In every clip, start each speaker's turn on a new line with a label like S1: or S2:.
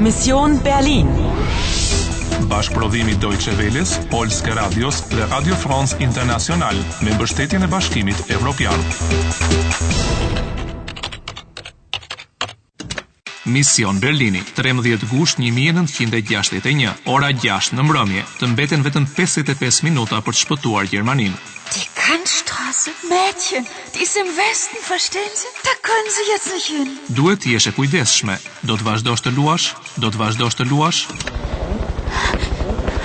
S1: Mission Berlin.
S2: Bashkëprodhimi Deutsche Welles, Polske Radios dhe Radio France International me mbështetjen e Bashkimit Evropian. Mision Berlini, 13 gusht 1961, ora 6 në mbrëmje. Të mbeten vetëm 55 minuta për të shpëtuar Gjermaninë.
S3: Die Kantstraße? Mädchen, die ist im Westen, verstehen Sie? Da können Sie jetzt nicht hin.
S2: Duhet të jesh e kujdesshme. Do të vazhdosh të luash, do të vazhdosh të luash.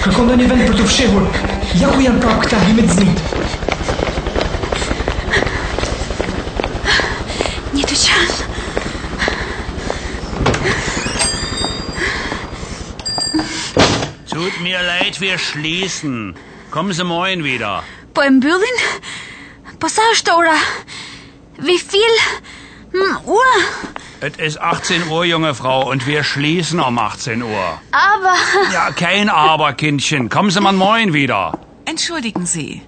S4: Kërkon një vend për të fshehur. Ja ku janë prapë këta himedzit.
S3: Një dyqan.
S5: Tut mir leid, wir schließen. Kommen Sie morgen wieder.
S3: Po e mbyllin? Po sa është ora? Wie viel? Mm, Uhr?
S5: Es ist 18 Uhr, junge Frau, und wir schließen um 18 Uhr.
S3: Aber...
S5: Ja, kein Aber, Kindchen. Kommen Sie mal morgen wieder.
S6: Entschuldigen Sie,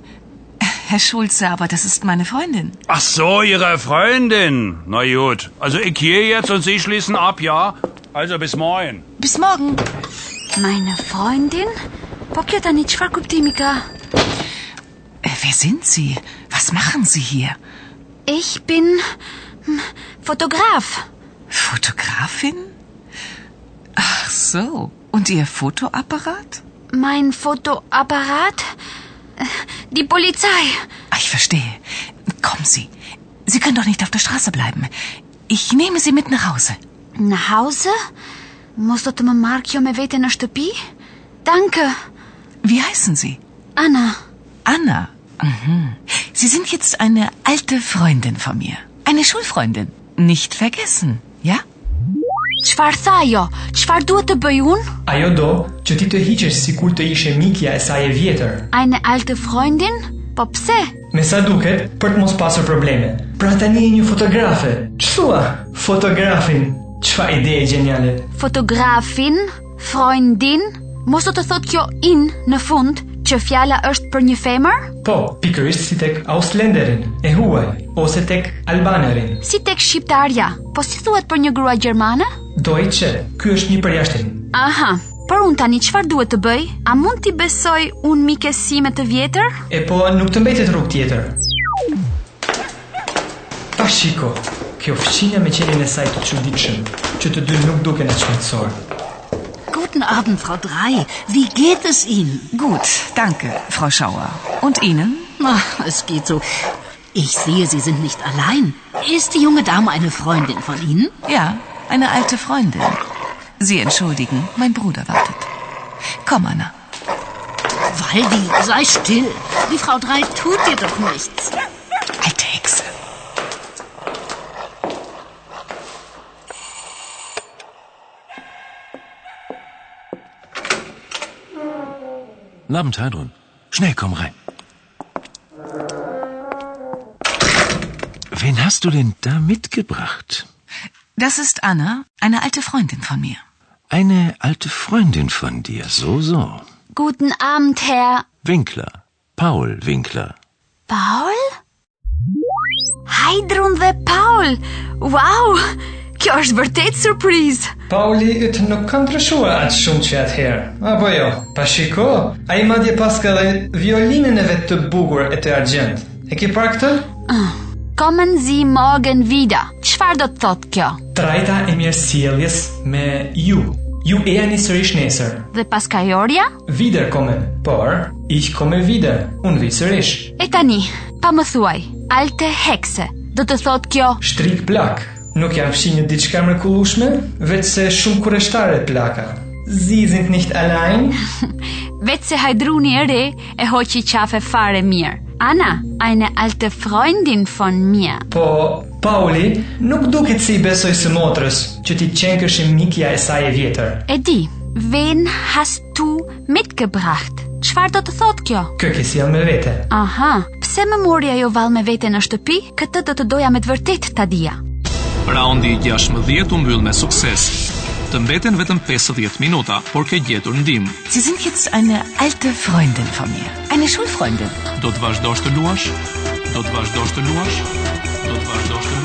S6: Herr Schulze, aber das ist meine Freundin.
S5: Ach so, Ihre Freundin. Na gut. Also ich gehe jetzt und Sie schließen ab, ja? Also bis morgen.
S6: Bis morgen.
S3: Meine Freundin? Po kjo tani çfarë kuptimi ka?
S6: Äh, wer sind Sie? Was machen Sie hier?
S3: Ich bin mm, fotograf.
S6: Fotografin? Ach so. Und Ihr Fotoapparat?
S3: Mein Fotoapparat? Äh, Die Polizei.
S6: Ah, Ich verstehe. Kommen Sie. Sie können doch nicht auf der Straße bleiben. Ich nehme Sie mit nach Hause.
S3: Në Hause? um Mos do të më marrë kjo me vete në shtëpi? Danke,
S6: Wie heißen Sie?
S3: Ana.
S6: Anna. Mhm. Sie sind jetzt eine alte Freundin von mir. Eine Schulfreundin. Nicht vergessen, ja?
S3: Çfarë tha ajo? Çfarë duhet të bëj unë?
S4: Ajo do që ti të hiqesh sikur të ishe mikja e saj e vjetër.
S3: Eine alte Freundin? Po pse?
S4: Me sa duket, për të mos pasur probleme. Pra tani je një fotografe. Ç'thua? Fotografin. Çfarë ide e geniale.
S3: Fotografin, Freundin, mos do të thot kjo in në fund që fjala është për një femër?
S4: Po, pikërisht si tek Ausländerin, e huaj, ose tek Albanerin.
S3: Si tek shqiptarja, po si thuhet për një grua gjermane?
S4: Deutsche, ky është një përjashtim.
S3: Aha, por unë tani çfarë duhet të bëj? A mund t'i besoj unë mikesime të vjetër?
S4: E po nuk të mbetet rrugë tjetër. Ta shiko, kjo fshinja me qenin e saj të çuditshëm, që të dy nuk duken as shqetësor.
S7: Guten Abend, Frau Drei. Wie geht es Ihnen?
S6: Gut, danke, Frau Schauer. Und Ihnen?
S7: Ach, es geht so. Ich sehe, Sie sind nicht allein. Ist die junge Dame eine Freundin von Ihnen?
S6: Ja, eine alte Freundin. Sie entschuldigen, mein Bruder wartet. Komm, Anna.
S7: Waldi, sei still. Die Frau Drei tut dir doch nichts.
S6: Alte Hexe.
S8: Guten Abend, Heidrun. Schnell, komm rein. Wen hast du denn da mitgebracht?
S6: Das ist Anna, eine alte Freundin von mir.
S8: Eine alte Freundin von dir, so, so.
S3: Guten Abend, Herr
S8: Winkler. Paul Winkler.
S3: Paul? Hajdrun dhe Paul. Wow! Kjo është vërtet surprizë.
S4: Pauli yt nuk kanë ndryshuar atë shumë që atëherë. Apo jo, pa shiko, a i madje pas ka dhe violinën e vetë të bugur e të argjend. E ke parë këtë?
S3: Kommen Sie morgen wieder. Çfarë do të thotë kjo?
S4: Trajta e mirë sjelljes me ju. Ju e janë sërish nesër.
S3: Dhe paskajorja?
S4: Vider komen, por ich komme wieder. Unë vi sërish.
S3: E tani, pa më thuaj, alte hekse. Do të thotë kjo,
S4: Shtrik plak. Nuk janë fshinjë diçka mrekullueshme, veç se shumë kurështare plaka. Sie sind nicht allein.
S3: vetë se hajdruni e re e hoqi qafe fare mirë. Ana, eine alte Freundin von mir.
S4: Po, Pauli, nuk duket si i besoj së motrës që ti qenkësh e mikja e saj e vjetër.
S3: E di, wen hast du mitgebracht? Çfarë do të thotë kjo?
S4: Kjo ke sjell me vete.
S3: Aha, pse më mori ajo vallë me vete në shtëpi? Këtë do të doja me të vërtet ta dija.
S2: Raundi i 16 u mbyll me sukses. Të mbeten vetëm 50 minuta, por ke gjetur ndihmë.
S6: Sie sind jetzt eine alte Freundin von mir. Eine Schulfreundin.
S2: Do të vazhdosh të luash? Do të vazhdosh të luash? Do të vazhdosh të luash?